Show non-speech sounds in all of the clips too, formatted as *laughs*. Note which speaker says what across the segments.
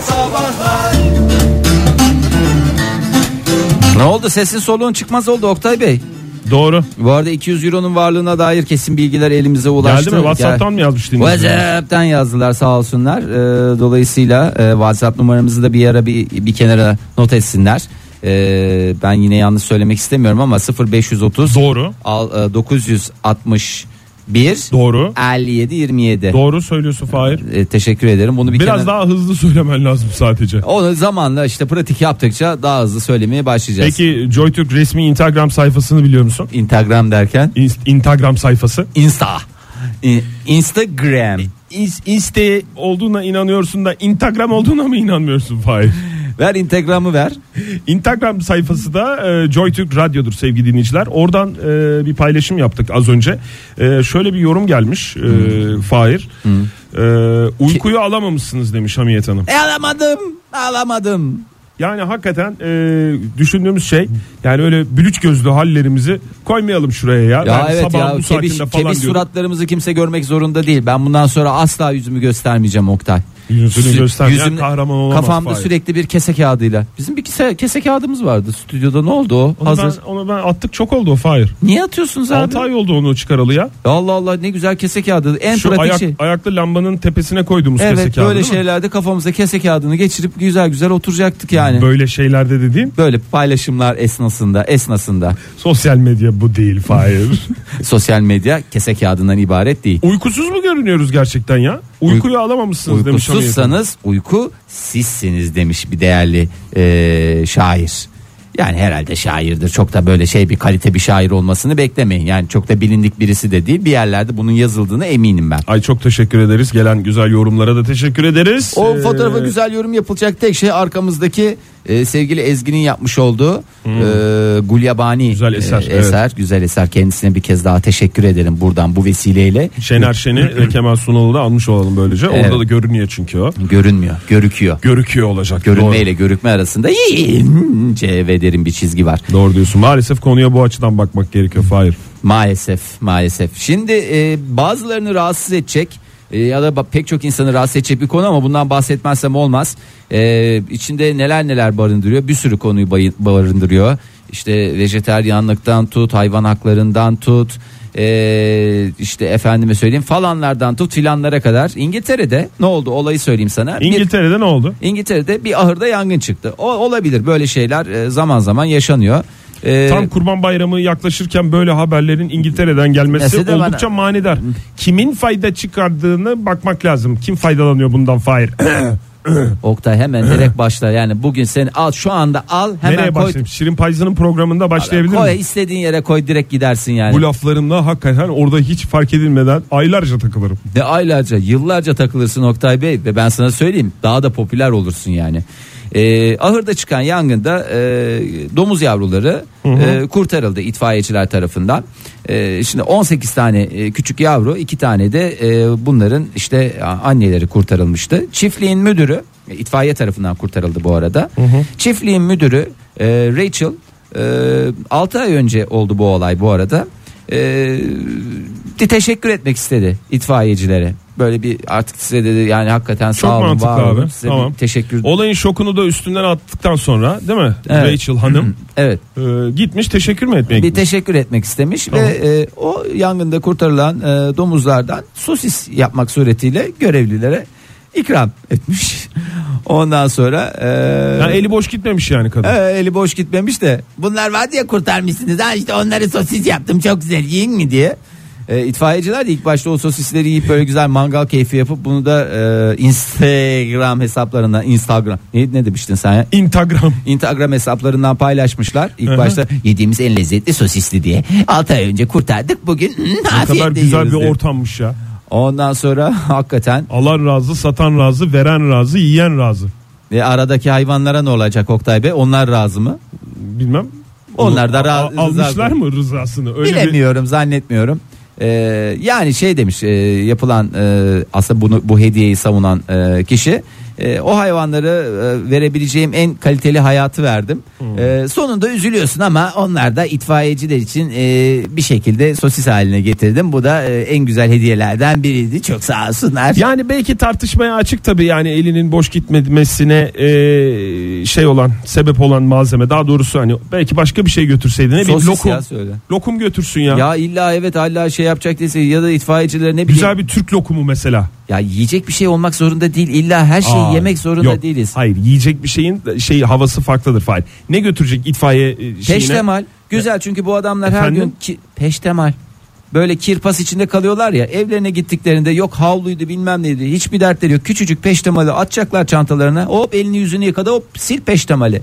Speaker 1: sabahlar
Speaker 2: Ne oldu sesin soluğun çıkmaz oldu Oktay Bey.
Speaker 3: Doğru.
Speaker 2: Bu arada 200 euronun varlığına dair kesin bilgiler elimize ulaştı.
Speaker 3: Geldi mi? WhatsApp'tan mı yazmış dinleyicilerimiz?
Speaker 2: WhatsApp'tan yazdılar sağ olsunlar. Ee, dolayısıyla e, WhatsApp numaramızı da bir ara bir, bir kenara not etsinler. Ee, ben yine yanlış söylemek istemiyorum ama 0530
Speaker 3: Doğru.
Speaker 2: al, e, 961
Speaker 3: Doğru.
Speaker 2: 57 27.
Speaker 3: Doğru söylüyorsun Fahir.
Speaker 2: Ee, teşekkür ederim. Bunu bir
Speaker 3: Biraz
Speaker 2: kenara-
Speaker 3: daha hızlı söylemen lazım sadece.
Speaker 2: onu zamanla işte pratik yaptıkça daha hızlı söylemeye başlayacağız.
Speaker 3: Peki JoyTürk resmi Instagram sayfasını biliyor musun?
Speaker 2: Instagram derken
Speaker 3: İn- Instagram sayfası.
Speaker 2: Insta. İ- Instagram.
Speaker 3: İs- İste olduğuna inanıyorsun da Instagram olduğuna mı inanmıyorsun Fahir?
Speaker 2: Ver Instagram'ı ver.
Speaker 3: Instagram sayfası da e, JoyTürk Radyo'dur sevgili dinleyiciler. Oradan e, bir paylaşım yaptık az önce. E, şöyle bir yorum gelmiş e, Fahir. E, uykuyu alamamışsınız demiş Hamiyet Hanım.
Speaker 2: E, alamadım. Alamadım.
Speaker 3: Yani hakikaten e, düşündüğümüz şey yani öyle bülüç gözlü hallerimizi koymayalım şuraya ya.
Speaker 2: Ya
Speaker 3: Ben
Speaker 2: evet
Speaker 3: sabah
Speaker 2: ya
Speaker 3: bu
Speaker 2: kebiş,
Speaker 3: saatinde falan
Speaker 2: kebiş
Speaker 3: diyorum.
Speaker 2: suratlarımızı kimse görmek zorunda değil. Ben bundan sonra asla yüzümü göstermeyeceğim Oktay.
Speaker 3: Yüzünü
Speaker 2: Sü-
Speaker 3: göstermeyen kahraman olamaz
Speaker 2: Kafamda
Speaker 3: Fahir.
Speaker 2: sürekli bir kese kağıdıyla. Bizim bir kese, kese kağıdımız vardı stüdyoda ne oldu o?
Speaker 3: Onu
Speaker 2: Hazır.
Speaker 3: ben, onu ben attık çok oldu o Fahir.
Speaker 2: Niye atıyorsunuz abi?
Speaker 3: 6 ay oldu onu çıkaralı ya.
Speaker 2: Ya Allah Allah ne güzel kese kağıdı. En
Speaker 3: Şu
Speaker 2: pratik
Speaker 3: ayak,
Speaker 2: şey.
Speaker 3: ayaklı lambanın tepesine koyduğumuz
Speaker 2: Evet
Speaker 3: kese kağıdı
Speaker 2: böyle
Speaker 3: değil mi?
Speaker 2: şeylerde kafamıza kese kağıdını geçirip güzel güzel oturacaktık yani. Böyle,
Speaker 3: Böyle şeylerde dediğim
Speaker 2: paylaşımlar esnasında esnasında
Speaker 3: sosyal medya bu
Speaker 2: *laughs*
Speaker 3: değil Fahir.
Speaker 2: sosyal medya kese kağıdından ibaret değil.
Speaker 3: Uykusuz mu görünüyoruz gerçekten ya? Uykuyu alamamışsınız demiş Hamiyet Hanım.
Speaker 2: Uykusuzsanız uyku sizsiniz demiş bir değerli e, şair. Yani herhalde şairdir. Çok da böyle şey bir kalite bir şair olmasını beklemeyin. Yani çok da bilindik birisi de değil. Bir yerlerde bunun yazıldığını eminim ben.
Speaker 3: Ay çok teşekkür ederiz. Gelen güzel yorumlara da teşekkür ederiz.
Speaker 2: O
Speaker 3: Ee,
Speaker 2: fotoğrafa güzel yorum yapılacak tek şey arkamızdaki e, sevgili Ezgi'nin yapmış olduğu e, Gulyabani
Speaker 3: Hmm. Güzel eser,
Speaker 2: e, eser güzel eser kendisine bir kez daha teşekkür ederim buradan bu vesileyle
Speaker 3: Şener Şen'i ve Kemal Sunal'ı da almış olalım böylece.
Speaker 2: Evet.
Speaker 3: Orada da görünüyor çünkü o.
Speaker 2: görünmüyor görüküyor
Speaker 3: Görüküyor olacak.
Speaker 2: görünme ile görükme arasında ince ve derin bir çizgi var
Speaker 3: Doğru. Doğru diyorsun. Maalesef konuya bu açıdan bakmak gerekiyor Fahir.
Speaker 2: Maalesef maalesef. Şimdi e, bazılarını rahatsız edecek e, ya da ba- pek çok insanı rahatsız edecek bir konu ama bundan bahsetmezsem olmaz. E, içinde neler neler barındırıyor bir sürü konuyu bayı- barındırıyor. İşte vejeteryanlıktan tut hayvan haklarından tut e, işte efendime söyleyeyim falanlardan tut filanlara kadar. İngiltere'de ne oldu olayı söyleyeyim sana. Bir-
Speaker 3: İngiltere'de ne oldu?
Speaker 2: İngiltere'de bir ahırda yangın çıktı. O, olabilir böyle şeyler e, zaman zaman yaşanıyor. E,
Speaker 3: Tam Kurban Bayramı yaklaşırken böyle haberlerin İngiltere'den gelmesi
Speaker 2: Nesi de bana-
Speaker 3: oldukça manidar. Kimin fayda çıkardığını bakmak lazım. Kim faydalanıyor
Speaker 2: *clears throat*
Speaker 3: bundan Fahir?
Speaker 2: Oktay hemen direkt başla. Yani bugün sen al şu anda al hemen
Speaker 3: Nereye
Speaker 2: koy.
Speaker 3: başlayayım? Şirin Payzı'nın programında başlayabilir
Speaker 2: Koy
Speaker 3: miyim?
Speaker 2: istediğin yere koy direkt gidersin yani.
Speaker 3: Bu laflarımla hakikaten orada hiç fark edilmeden aylarca takılırım.
Speaker 2: Ne aylarca yıllarca takılırsın Oktay Bey ve ben sana söyleyeyim daha da popüler olursun yani. Ee, ahırda çıkan yangında e, domuz yavruları e, kurtarıldı itfaiyeciler tarafından. E, şimdi 18 tane e, küçük yavru, iki tane de e, bunların işte a- anneleri kurtarılmıştı. Çiftliğin müdürü e, itfaiye tarafından kurtarıldı bu arada. Çiftliğin müdürü e, Rachel e, 6 ay önce oldu bu olay bu arada. E, bir teşekkür etmek istedi itfaiyecilere. Böyle bir artık size dedi yani hakikaten
Speaker 3: Çok
Speaker 2: sağ olun
Speaker 3: mantıklı
Speaker 2: var olun.
Speaker 3: abi.
Speaker 2: Size
Speaker 3: Tamam.
Speaker 2: bir teşekkür.
Speaker 3: Olayın şokunu da üstünden attıktan sonra değil mi?
Speaker 2: Evet. *clears throat*
Speaker 3: Rachel Hanım
Speaker 2: evet.
Speaker 3: e, gitmiş teşekkür mü etmeye
Speaker 2: Bir
Speaker 3: gitmiş?
Speaker 2: teşekkür etmek istemiş
Speaker 3: Tamam.
Speaker 2: ve e, o yangında kurtarılan e, domuzlardan sosis yapmak suretiyle görevlilere ikram etmiş. *laughs* Ondan sonra e,
Speaker 3: Yani eli boş gitmemiş yani kadın.
Speaker 2: e, eli boş gitmemiş de bunlar var diye kurtarmışsınız ha işte onları sosis yaptım çok güzel yiyin mi diye. E, itfaiyeciler de ilk başta o sosisleri yiyip böyle güzel mangal keyfi yapıp bunu da e, Instagram hesaplarından Instagram ne, ne demiştin sen ya? *laughs*
Speaker 3: Instagram.
Speaker 2: Instagram hesaplarından paylaşmışlar. İlk
Speaker 3: Aha.
Speaker 2: başta yediğimiz en lezzetli sosisli diye. 6 ay önce kurtardık bugün.
Speaker 3: Ne kadar güzel bir ortammış ya.
Speaker 2: Ondan sonra *laughs* hakikaten
Speaker 3: Alan razı, satan razı, veren razı, yiyen razı.
Speaker 2: e, aradaki hayvanlara ne olacak Oktay Bey? Onlar razı mı?
Speaker 3: Bilmem.
Speaker 2: Onlar da
Speaker 3: A-
Speaker 2: ra-
Speaker 3: almışlar
Speaker 2: rızası.
Speaker 3: mı rızasını? Öyle bir
Speaker 2: Bilemiyorum zannetmiyorum. Ee, yani şey demiş e, yapılan e, aslında bunu bu hediyeyi savunan e, kişi E, o hayvanlara e, verebileceğim en kaliteli hayatı verdim.
Speaker 3: Hmm.
Speaker 2: E, sonunda üzülüyorsun ama onlar da itfaiyeciler için e, bir şekilde sosis haline getirdim. Bu da e, en güzel hediyelerden biriydi. Çok sağ olsunlar.
Speaker 3: Yani belki tartışmaya açık tabii yani elinin boş gitmemesine e, şey olan sebep olan malzeme daha doğrusu hani belki başka bir şey götürseydi ne bileyim
Speaker 2: Sosis
Speaker 3: lokum.
Speaker 2: ya söyle.
Speaker 3: Lokum götürsün ya.
Speaker 2: Ya illa evet hala şey yapacak dese ya da itfaiyeciler ne bileyim.
Speaker 3: Güzel bir Türk lokumu mesela.
Speaker 2: Ya yiyecek bir şey olmak zorunda değil. İlla her şeyi
Speaker 3: Aa,
Speaker 2: şey yemek zorunda
Speaker 3: yok.
Speaker 2: değiliz.
Speaker 3: Hayır yiyecek bir şeyin şey havası farklıdır Fahir. Ne götürecek itfaiye e, şeyine?
Speaker 2: Peştemal. Güzel çünkü bu adamlar her
Speaker 3: Efendim?
Speaker 2: gün ki, peştemal. Böyle kirpas içinde kalıyorlar ya evlerine gittiklerinde yok havluydu bilmem neydi hiçbir dertleri yok. Küçücük peştemali atacaklar çantalarına hop elini yüzünü yıkadı hop sil peştemali.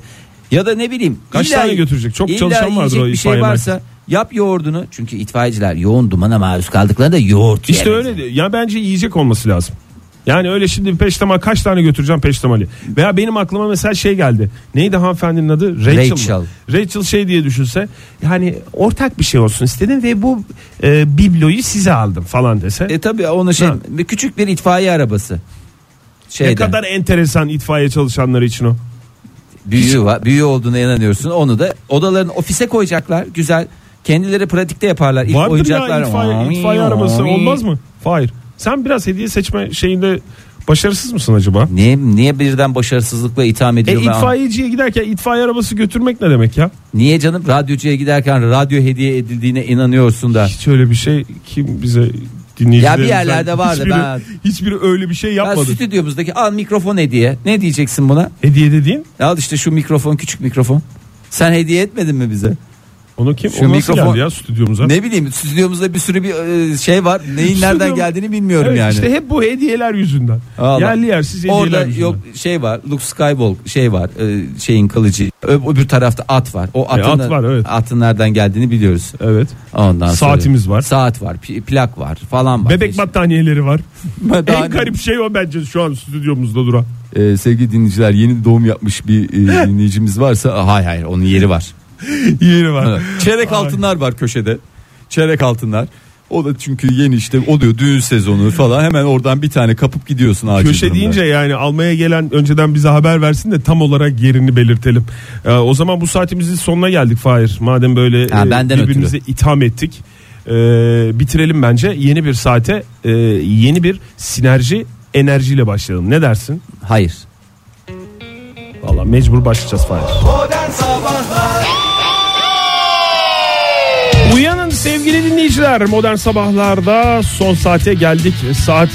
Speaker 2: Ya da ne bileyim.
Speaker 3: Kaç tane götürecek? Çok
Speaker 2: illa
Speaker 3: çalışan vardır
Speaker 2: yiyecek
Speaker 3: o
Speaker 2: bir şey
Speaker 3: itfaiye
Speaker 2: varsa yap yoğurdunu. Çünkü itfaiyeciler yoğun dumana maruz kaldıklarında yoğurt
Speaker 3: İşte
Speaker 2: yemez.
Speaker 3: öyle de- ya bence yiyecek olması lazım. Yani öyle şimdi peştemal kaç tane götüreceğim peştemali. Veya benim aklıma mesela şey geldi. Neydi hanımefendinin adı? Rachel.
Speaker 2: Rachel.
Speaker 3: Rachel, Rachel şey diye düşünse. Yani ortak bir şey olsun istedim ve bu e, bibloyu size aldım falan dese.
Speaker 2: E tabi onu şey
Speaker 3: Ha.
Speaker 2: bir küçük bir itfaiye arabası. Şeyden,
Speaker 3: ne kadar enteresan itfaiye çalışanları için o.
Speaker 2: büyüğü var. Büyüğü olduğuna inanıyorsun. Onu da odaların ofise koyacaklar. Güzel. Kendileri pratikte yaparlar. İlk
Speaker 3: Vardır
Speaker 2: oyuncaklar.
Speaker 3: ya itfaiye, itfaiye arabası olmaz mı? Hayır. Sen biraz hediye seçme şeyinde başarısız mısın acaba?
Speaker 2: Niye, niye birden başarısızlıkla itham
Speaker 3: E,
Speaker 2: ediyorum? ben?
Speaker 3: itfaiyeciye giderken itfaiye arabası götürmek ne demek ya?
Speaker 2: Niye canım radyocuya giderken radyo hediye edildiğine inanıyorsun da.
Speaker 3: Hiç öyle bir şey kim bize dinleyicilerimizden
Speaker 2: Ya bir yerlerde vardı,
Speaker 3: hiçbiri,
Speaker 2: ben-
Speaker 3: hiçbiri öyle bir şey
Speaker 2: Ben
Speaker 3: yapmadı.
Speaker 2: stüdyomuzdaki al mikrofon hediye. Ne diyeceksin buna? E,
Speaker 3: Hediye dediğin
Speaker 2: Al işte şu mikrofon küçük mikrofon. Sen hediye etmedin mi bize?
Speaker 3: onu kim?
Speaker 2: Şu
Speaker 3: o nasıl
Speaker 2: mikrofon-
Speaker 3: geldi ya stüdyomuza?
Speaker 2: Ne bileyim stüdyomuzda bir sürü bir e, şey var. Neyin nereden
Speaker 3: Stüdyom-
Speaker 2: geldiğini bilmiyorum
Speaker 3: Evet,
Speaker 2: yani.
Speaker 3: İşte hep bu hediyeler yüzünden.
Speaker 2: Allah.
Speaker 3: Yerli yersiz hediyeler
Speaker 2: Orada
Speaker 3: yüzünden.
Speaker 2: yok şey var Luke Skywalker şey var e, şeyin kılıcı Ö- öbür tarafta at var o atın,
Speaker 3: E, at var, evet.
Speaker 2: atın nereden geldiğini biliyoruz
Speaker 3: Evet.
Speaker 2: ondan sonra-
Speaker 3: Saatimiz var.
Speaker 2: saat var pi- plak var falan var
Speaker 3: Bebek battaniyeleri var.
Speaker 2: Daha
Speaker 3: en
Speaker 2: ne-
Speaker 3: garip şey o bence şu an
Speaker 2: *laughs*
Speaker 3: stüdyomuzda duran.
Speaker 2: Ee, sevgili dinleyiciler yeni doğum yapmış bir
Speaker 3: *laughs*
Speaker 2: e, dinleyicimiz varsa Aa, hayır hayır onun yeri var
Speaker 3: Yeri var.
Speaker 2: Evet. çeyrek altınlar var köşede çeyrek altınlar o da çünkü yeni işte oluyor düğün sezonu falan hemen oradan bir tane kapıp gidiyorsun acil
Speaker 3: Köşe
Speaker 2: durumda.
Speaker 3: deyince yani almaya gelen önceden bize haber versin de tam olarak yerini belirtelim. Ee, o zaman bu saatimizin sonuna geldik Fahir. Madem böyle
Speaker 2: Ha,
Speaker 3: e,
Speaker 2: benden
Speaker 3: birbirimize itham ettik. Ee, bitirelim bence yeni bir saate e, yeni bir sinerji enerjiyle başlayalım. Ne dersin?
Speaker 2: hayır
Speaker 3: Valla mecbur başlayacağız Fahir. Uyanın sevgili dinleyiciler. Modern Sabahlar'da son saate geldik. Saat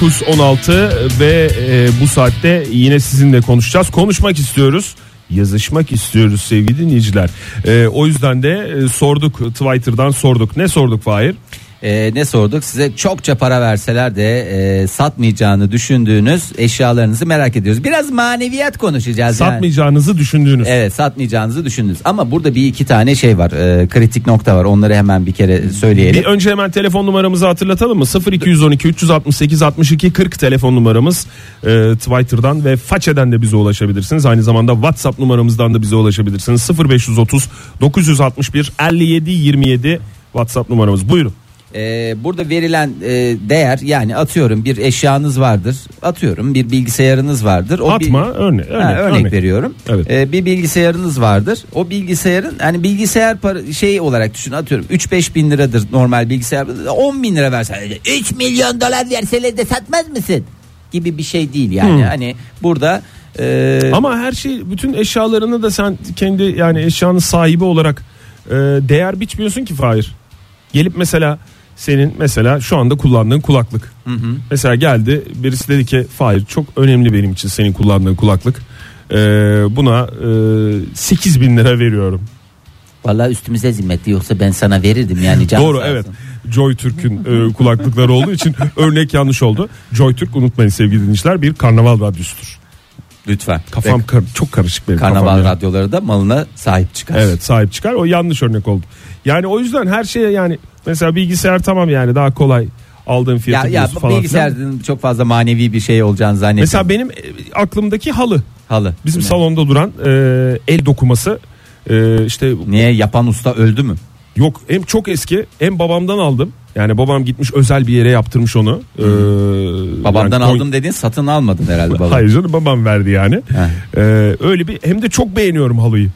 Speaker 3: 9.16 ve e, bu saatte yine sizinle konuşacağız. Konuşmak istiyoruz. Yazışmak istiyoruz sevgili dinleyiciler. E, o yüzden de e, sorduk Twitter'dan sorduk. Ne sorduk Fahir?
Speaker 2: Ee, ne sorduk size çokça para verseler de e, satmayacağını düşündüğünüz eşyalarınızı merak ediyoruz. Biraz maneviyat konuşacağız. yani.
Speaker 3: Satmayacağınızı düşündüğünüz.
Speaker 2: Evet satmayacağınızı düşündünüz ama burada bir iki tane şey var e, kritik nokta var onları hemen bir kere söyleyelim.
Speaker 3: Bir önce hemen telefon numaramızı hatırlatalım mı? 0212 368 62 40 telefon numaramız. Ee, Twitter'dan ve Façe'den de bize ulaşabilirsiniz. Aynı zamanda WhatsApp numaramızdan da bize ulaşabilirsiniz. 0530 961 57 27 WhatsApp numaramız. Buyurun.
Speaker 2: E, burada verilen e, değer yani atıyorum bir eşyanız vardır atıyorum bir bilgisayarınız vardır. O bir-
Speaker 3: Atma örne- örnek,
Speaker 2: Ha, örnek,
Speaker 3: örnek.
Speaker 2: veriyorum.
Speaker 3: Evet.
Speaker 2: Ee, bir bilgisayarınız vardır. O bilgisayarın hani bilgisayar para, şey olarak düşün atıyorum 3-5 bin liradır normal bilgisayar. 10 bin lira versen 3 milyon dolar verseler de satmaz mısın? Gibi bir şey değil yani. Hani burada e,
Speaker 3: Hmm. Ama her şey bütün eşyalarını da sen kendi yani eşyanın sahibi olarak e, değer biçmiyorsun ki Fahir. Gelip mesela senin mesela şu anda kullandığın kulaklık. Mesela geldi birisi dedi ki Fahir çok önemli benim için senin kullandığın kulaklık. E, buna e, 8 bin lira veriyorum.
Speaker 2: vallahi üstümüze zimmetli yoksa ben sana verirdim yani. canı
Speaker 3: Doğru
Speaker 2: sağ
Speaker 3: evet.
Speaker 2: olsun.
Speaker 3: Joy Türk'ün e, kulaklıkları olduğu için *laughs* örnek yanlış oldu. Joy Türk unutmayın sevgili dinleyiciler bir karnaval radyosudur.
Speaker 2: Lütfen.
Speaker 3: Kafam kar- çok karışık benim kafam.
Speaker 2: Karnaval
Speaker 3: ya.
Speaker 2: radyoları da malına sahip çıkar.
Speaker 3: Evet sahip çıkar. O yanlış örnek oldu. Yani o yüzden her şeye yani mesela bilgisayar tamam yani daha kolay aldığın
Speaker 2: Ya,
Speaker 3: fiyatı
Speaker 2: ya
Speaker 3: ya, falan. filan.
Speaker 2: bilgisayarın çok fazla manevi bir şey olacağını zannetmiyorum.
Speaker 3: Mesela benim e, aklımdaki halı.
Speaker 2: halı. Hani
Speaker 3: Bizim
Speaker 2: Ne?
Speaker 3: salonda duran e, el dokuması e, işte
Speaker 2: Niye yapan usta öldü mü?
Speaker 3: yok hem çok eski hem babamdan aldım. Yani babam gitmiş özel bir yere yaptırmış onu. Ee,
Speaker 2: Babamdan
Speaker 3: yani Kon-
Speaker 2: aldım dedin satın almadın herhalde baba.
Speaker 3: Hayır canım babam verdi yani. Ee, öyle bir hem de çok beğeniyorum halıyı.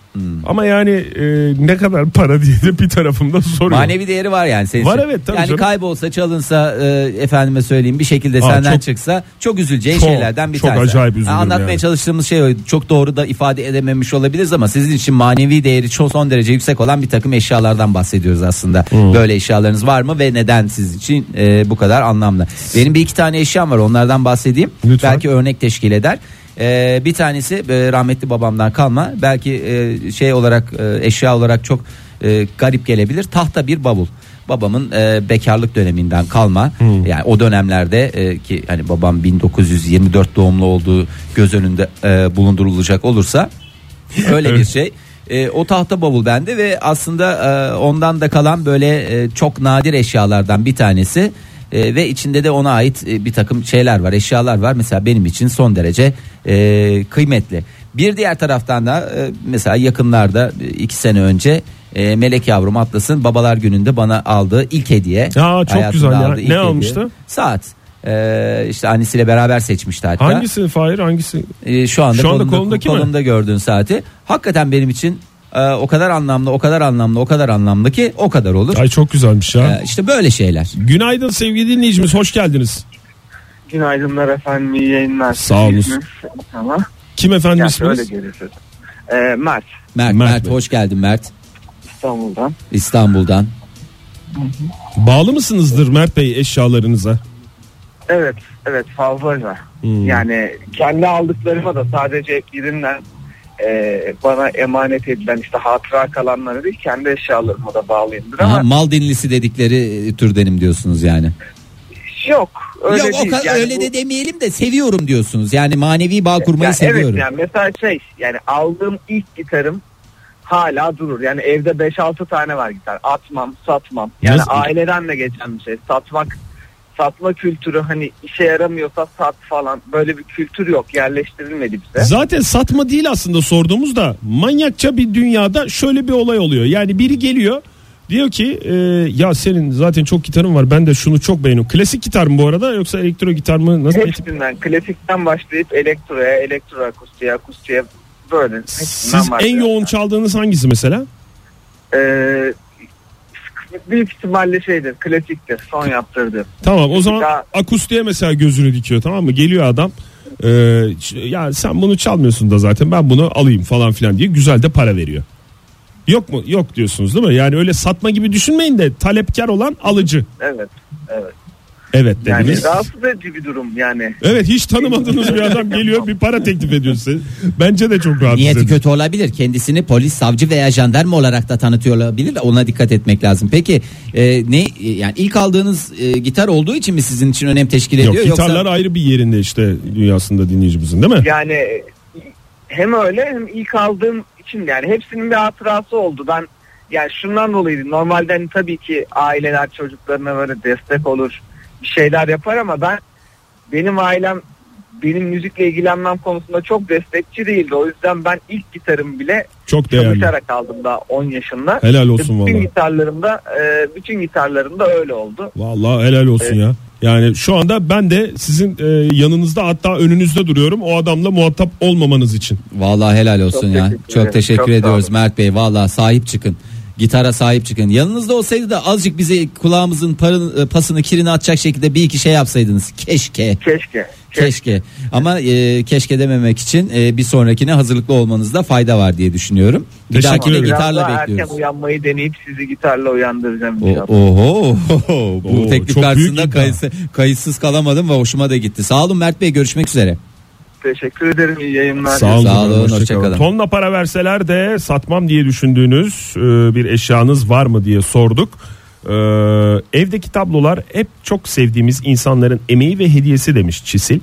Speaker 3: Ama yani e, ne kadar para *laughs* diye de bir tarafımda soruyor.
Speaker 2: Manevi değeri var yani senin.
Speaker 3: Var
Speaker 2: için.
Speaker 3: evet, tabii
Speaker 2: Yani
Speaker 3: canım.
Speaker 2: kaybolsa çalınsa e, efendime söyleyeyim bir şekilde
Speaker 3: Aa,
Speaker 2: senden
Speaker 3: çok-
Speaker 2: çıksa çok üzüleceğin
Speaker 3: Çok,
Speaker 2: şeylerden bir
Speaker 3: çok
Speaker 2: tanesi.
Speaker 3: acayip üzülürüm
Speaker 2: anlatmaya
Speaker 3: yani.
Speaker 2: çalıştığımız şey o. çok doğru da ifade edememiş olabiliriz ama sizin için manevi değeri çok son derece yüksek olan bir takım eşyalardan bahsediyoruz aslında. Böyle eşyalarınız var mı ve neden siz için e, bu kadar anlamlı? Benim bir iki tane eşyam var onlardan bahsedeyim.
Speaker 3: Lütfen.
Speaker 2: Belki örnek teşkil eder. Ee, bir tanesi e, rahmetli babamdan kalma. Belki e, şey olarak e, eşya olarak çok e, garip gelebilir. Tahta bir bavul. Babamın e, bekarlık döneminden kalma. Yani o dönemlerde e, ki hani babam 1924 doğumlu olduğu göz önünde e, bulundurulacak olursa öyle bir şey. E, o tahta bavul bende ve aslında e, ondan da kalan böyle e, çok nadir eşyalardan bir tanesi E, ve içinde de ona ait e, bir takım şeyler var eşyalar var mesela benim için son derece e, kıymetli. Bir diğer taraftan da e, mesela yakınlarda e, iki sene önce e, Melek yavrum Atlas'ın babalar gününde bana aldığı ilk hediye.
Speaker 3: Aa, çok
Speaker 2: Hayatımda
Speaker 3: güzel ya.
Speaker 2: aldığı ilk
Speaker 3: Ne almıştı?
Speaker 2: Saat. E, işte annesiyle beraber seçmişti hatta.
Speaker 3: Hangisi Fahir hangisi?
Speaker 2: Ee, şu anda,
Speaker 3: Şu anda
Speaker 2: kolumda,
Speaker 3: kolundaki mi?
Speaker 2: kolumda gördüğün saati. Hakikaten benim için e, o kadar anlamlı, o kadar anlamlı, o kadar anlamlı ki o kadar olur. E,
Speaker 3: Ay çok güzelmiş ya.
Speaker 2: işte böyle şeyler.
Speaker 3: Günaydın sevgili dinleyicimiz hoş geldiniz.
Speaker 1: Günaydınlar efendim, iyi yayınlar.
Speaker 3: Sağ olun.
Speaker 1: Ama
Speaker 3: Kim efendim
Speaker 1: gerçi öyle
Speaker 3: isminiz?
Speaker 1: görüyorsunuz. Ee, Mert,
Speaker 2: Mert,
Speaker 3: Mert
Speaker 2: Mert,
Speaker 3: Bey.
Speaker 2: hoş geldin Mert.
Speaker 1: İstanbul'dan.
Speaker 2: İstanbul'dan.
Speaker 3: Bağlı mısınızdır Mert Bey eşyalarınıza?
Speaker 1: Evet, evet fazlaca.
Speaker 3: Hmm.
Speaker 1: Yani kendi aldıklarıma da sadece birinden e, bana emanet edilen işte hatıra kalanları değil kendi eşyalarıma da bağlıyımdır ama
Speaker 2: Aha, mal dinlisi dedikleri e, türdenim diyorsunuz yani.
Speaker 1: yok öyle
Speaker 2: Yok o
Speaker 1: değil.
Speaker 2: kadar
Speaker 1: Yani
Speaker 2: öyle
Speaker 1: bu-
Speaker 2: de demeyelim de seviyorum diyorsunuz. Yani manevi bağ kurmayı
Speaker 1: Yani
Speaker 2: seviyorum.
Speaker 1: Evet yani mesela şey yani aldığım ilk gitarım hala durur. Yani evde 5-6 tane var gitar. Atmam, satmam. Yani
Speaker 3: Nasıl?
Speaker 1: aileden de geçen bir şey. Satmak satma kültürü hani işe yaramıyorsa sat falan böyle bir kültür yok yerleştirilmedi bize.
Speaker 3: Zaten satma değil aslında sorduğumuz da manyakça bir dünyada şöyle bir olay oluyor. Yani biri geliyor diyor ki e, ya senin zaten çok gitarın var ben de şunu çok beğeniyorum. Klasik gitar mı bu arada yoksa elektro gitar mı? Nasıl?
Speaker 1: Hepsinden klasikten başlayıp elektroya, elektro akustiğe, akustiğe böyle. hepsinden
Speaker 3: Siz en
Speaker 1: başlıyor.
Speaker 3: yoğun çaldığınız hangisi mesela?
Speaker 1: Ee, büyük ihtimalle şeydir klasiktir son yaptırdı.
Speaker 3: Tamam o zaman
Speaker 1: Daha-
Speaker 3: akustiğe mesela gözünü dikiyor tamam mı? Geliyor adam e, ç- ya sen bunu çalmıyorsun da zaten ben bunu alayım falan filan diye güzel de para veriyor. Yok mu? Yok diyorsunuz değil mi? Yani öyle satma gibi düşünmeyin de talepkar olan alıcı.
Speaker 1: Evet. Evet.
Speaker 3: Evet
Speaker 1: Yani
Speaker 3: dediniz.
Speaker 1: rahatsız edici bir durum yani.
Speaker 3: Evet hiç tanımadığınız bir adam geliyor bir para teklif ediyor size. Bence de çok rahatsız
Speaker 2: Niyeti
Speaker 3: edici.
Speaker 2: kötü olabilir. Kendisini polis, savcı veya jandarma olarak da tanıtıyor olabilir. Ona dikkat etmek lazım. Peki e, ne yani ilk aldığınız e, gitar olduğu için mi sizin için önem teşkil ediyor
Speaker 3: Yok gitarlar
Speaker 2: yoksa
Speaker 3: ayrı bir yerinde işte dünyasında dinleyicimizin değil mi?
Speaker 1: Yani hem öyle hem ilk aldığım için yani hepsinin bir hatırası oldu. Ben yani şundan dolayıydı. Normalde hani tabii ki aileler çocuklarına böyle destek olur. Bir şeyler yapar ama ben benim ailem benim müzikle ilgilenmem konusunda çok destekçi değildi. O yüzden ben ilk gitarım bile
Speaker 3: Çok değerli.
Speaker 1: çalışarak aldım daha 10 yaşında.
Speaker 3: Helal olsun
Speaker 1: bütün
Speaker 3: valla.
Speaker 1: gitarlarımda e, bütün gitarlarımda öyle oldu.
Speaker 3: Valla helal olsun ya. Yani şu anda ben de sizin e, yanınızda hatta önünüzde duruyorum o adamla muhatap olmamanız için.
Speaker 2: vallahi helal olsun
Speaker 1: Çok
Speaker 2: ya.
Speaker 1: teşekkür ederim.
Speaker 2: çok teşekkür
Speaker 1: Çok sağ
Speaker 2: ediyoruz
Speaker 1: olun.
Speaker 2: Mert Bey. Vallahi sahip çıkın. Gitara sahip çıkın. Yanınızda olsaydı da azıcık bize kulağımızın parın, e, pasını kirini atacak şekilde bir iki şey yapsaydınız. Keşke.
Speaker 1: Keşke.
Speaker 2: Keşke ama e, keşke dememek için e, bir sonrakine hazırlıklı olmanızda fayda var diye düşünüyorum. Bir
Speaker 3: Teşekkür
Speaker 2: dahakine
Speaker 3: ederim.
Speaker 1: Biraz
Speaker 2: gitarla
Speaker 1: daha
Speaker 2: bekliyoruz.
Speaker 1: Erken uyanmayı deneyip sizi gitarla uyandıracağım.
Speaker 2: O-
Speaker 1: inşallah.
Speaker 2: Oho, bu
Speaker 3: Oo,
Speaker 2: teklif
Speaker 3: çok
Speaker 2: karşısında
Speaker 3: büyük iddia.
Speaker 2: kayısı, kayıtsız kalamadım ve hoşuma da gitti. Sağ olun Mert Bey görüşmek üzere.
Speaker 1: Teşekkür ederim. İyi yayınlar.
Speaker 3: Sağ olun.
Speaker 2: Sağ olun,
Speaker 3: hoşça
Speaker 2: hoşça
Speaker 3: kalın.
Speaker 2: kalın.
Speaker 3: Tonla para verseler de satmam diye düşündüğünüz e, bir eşyanız var mı diye sorduk. E, evdeki tablolar hep çok sevdiğimiz insanların emeği ve hediyesi demiş Çisil.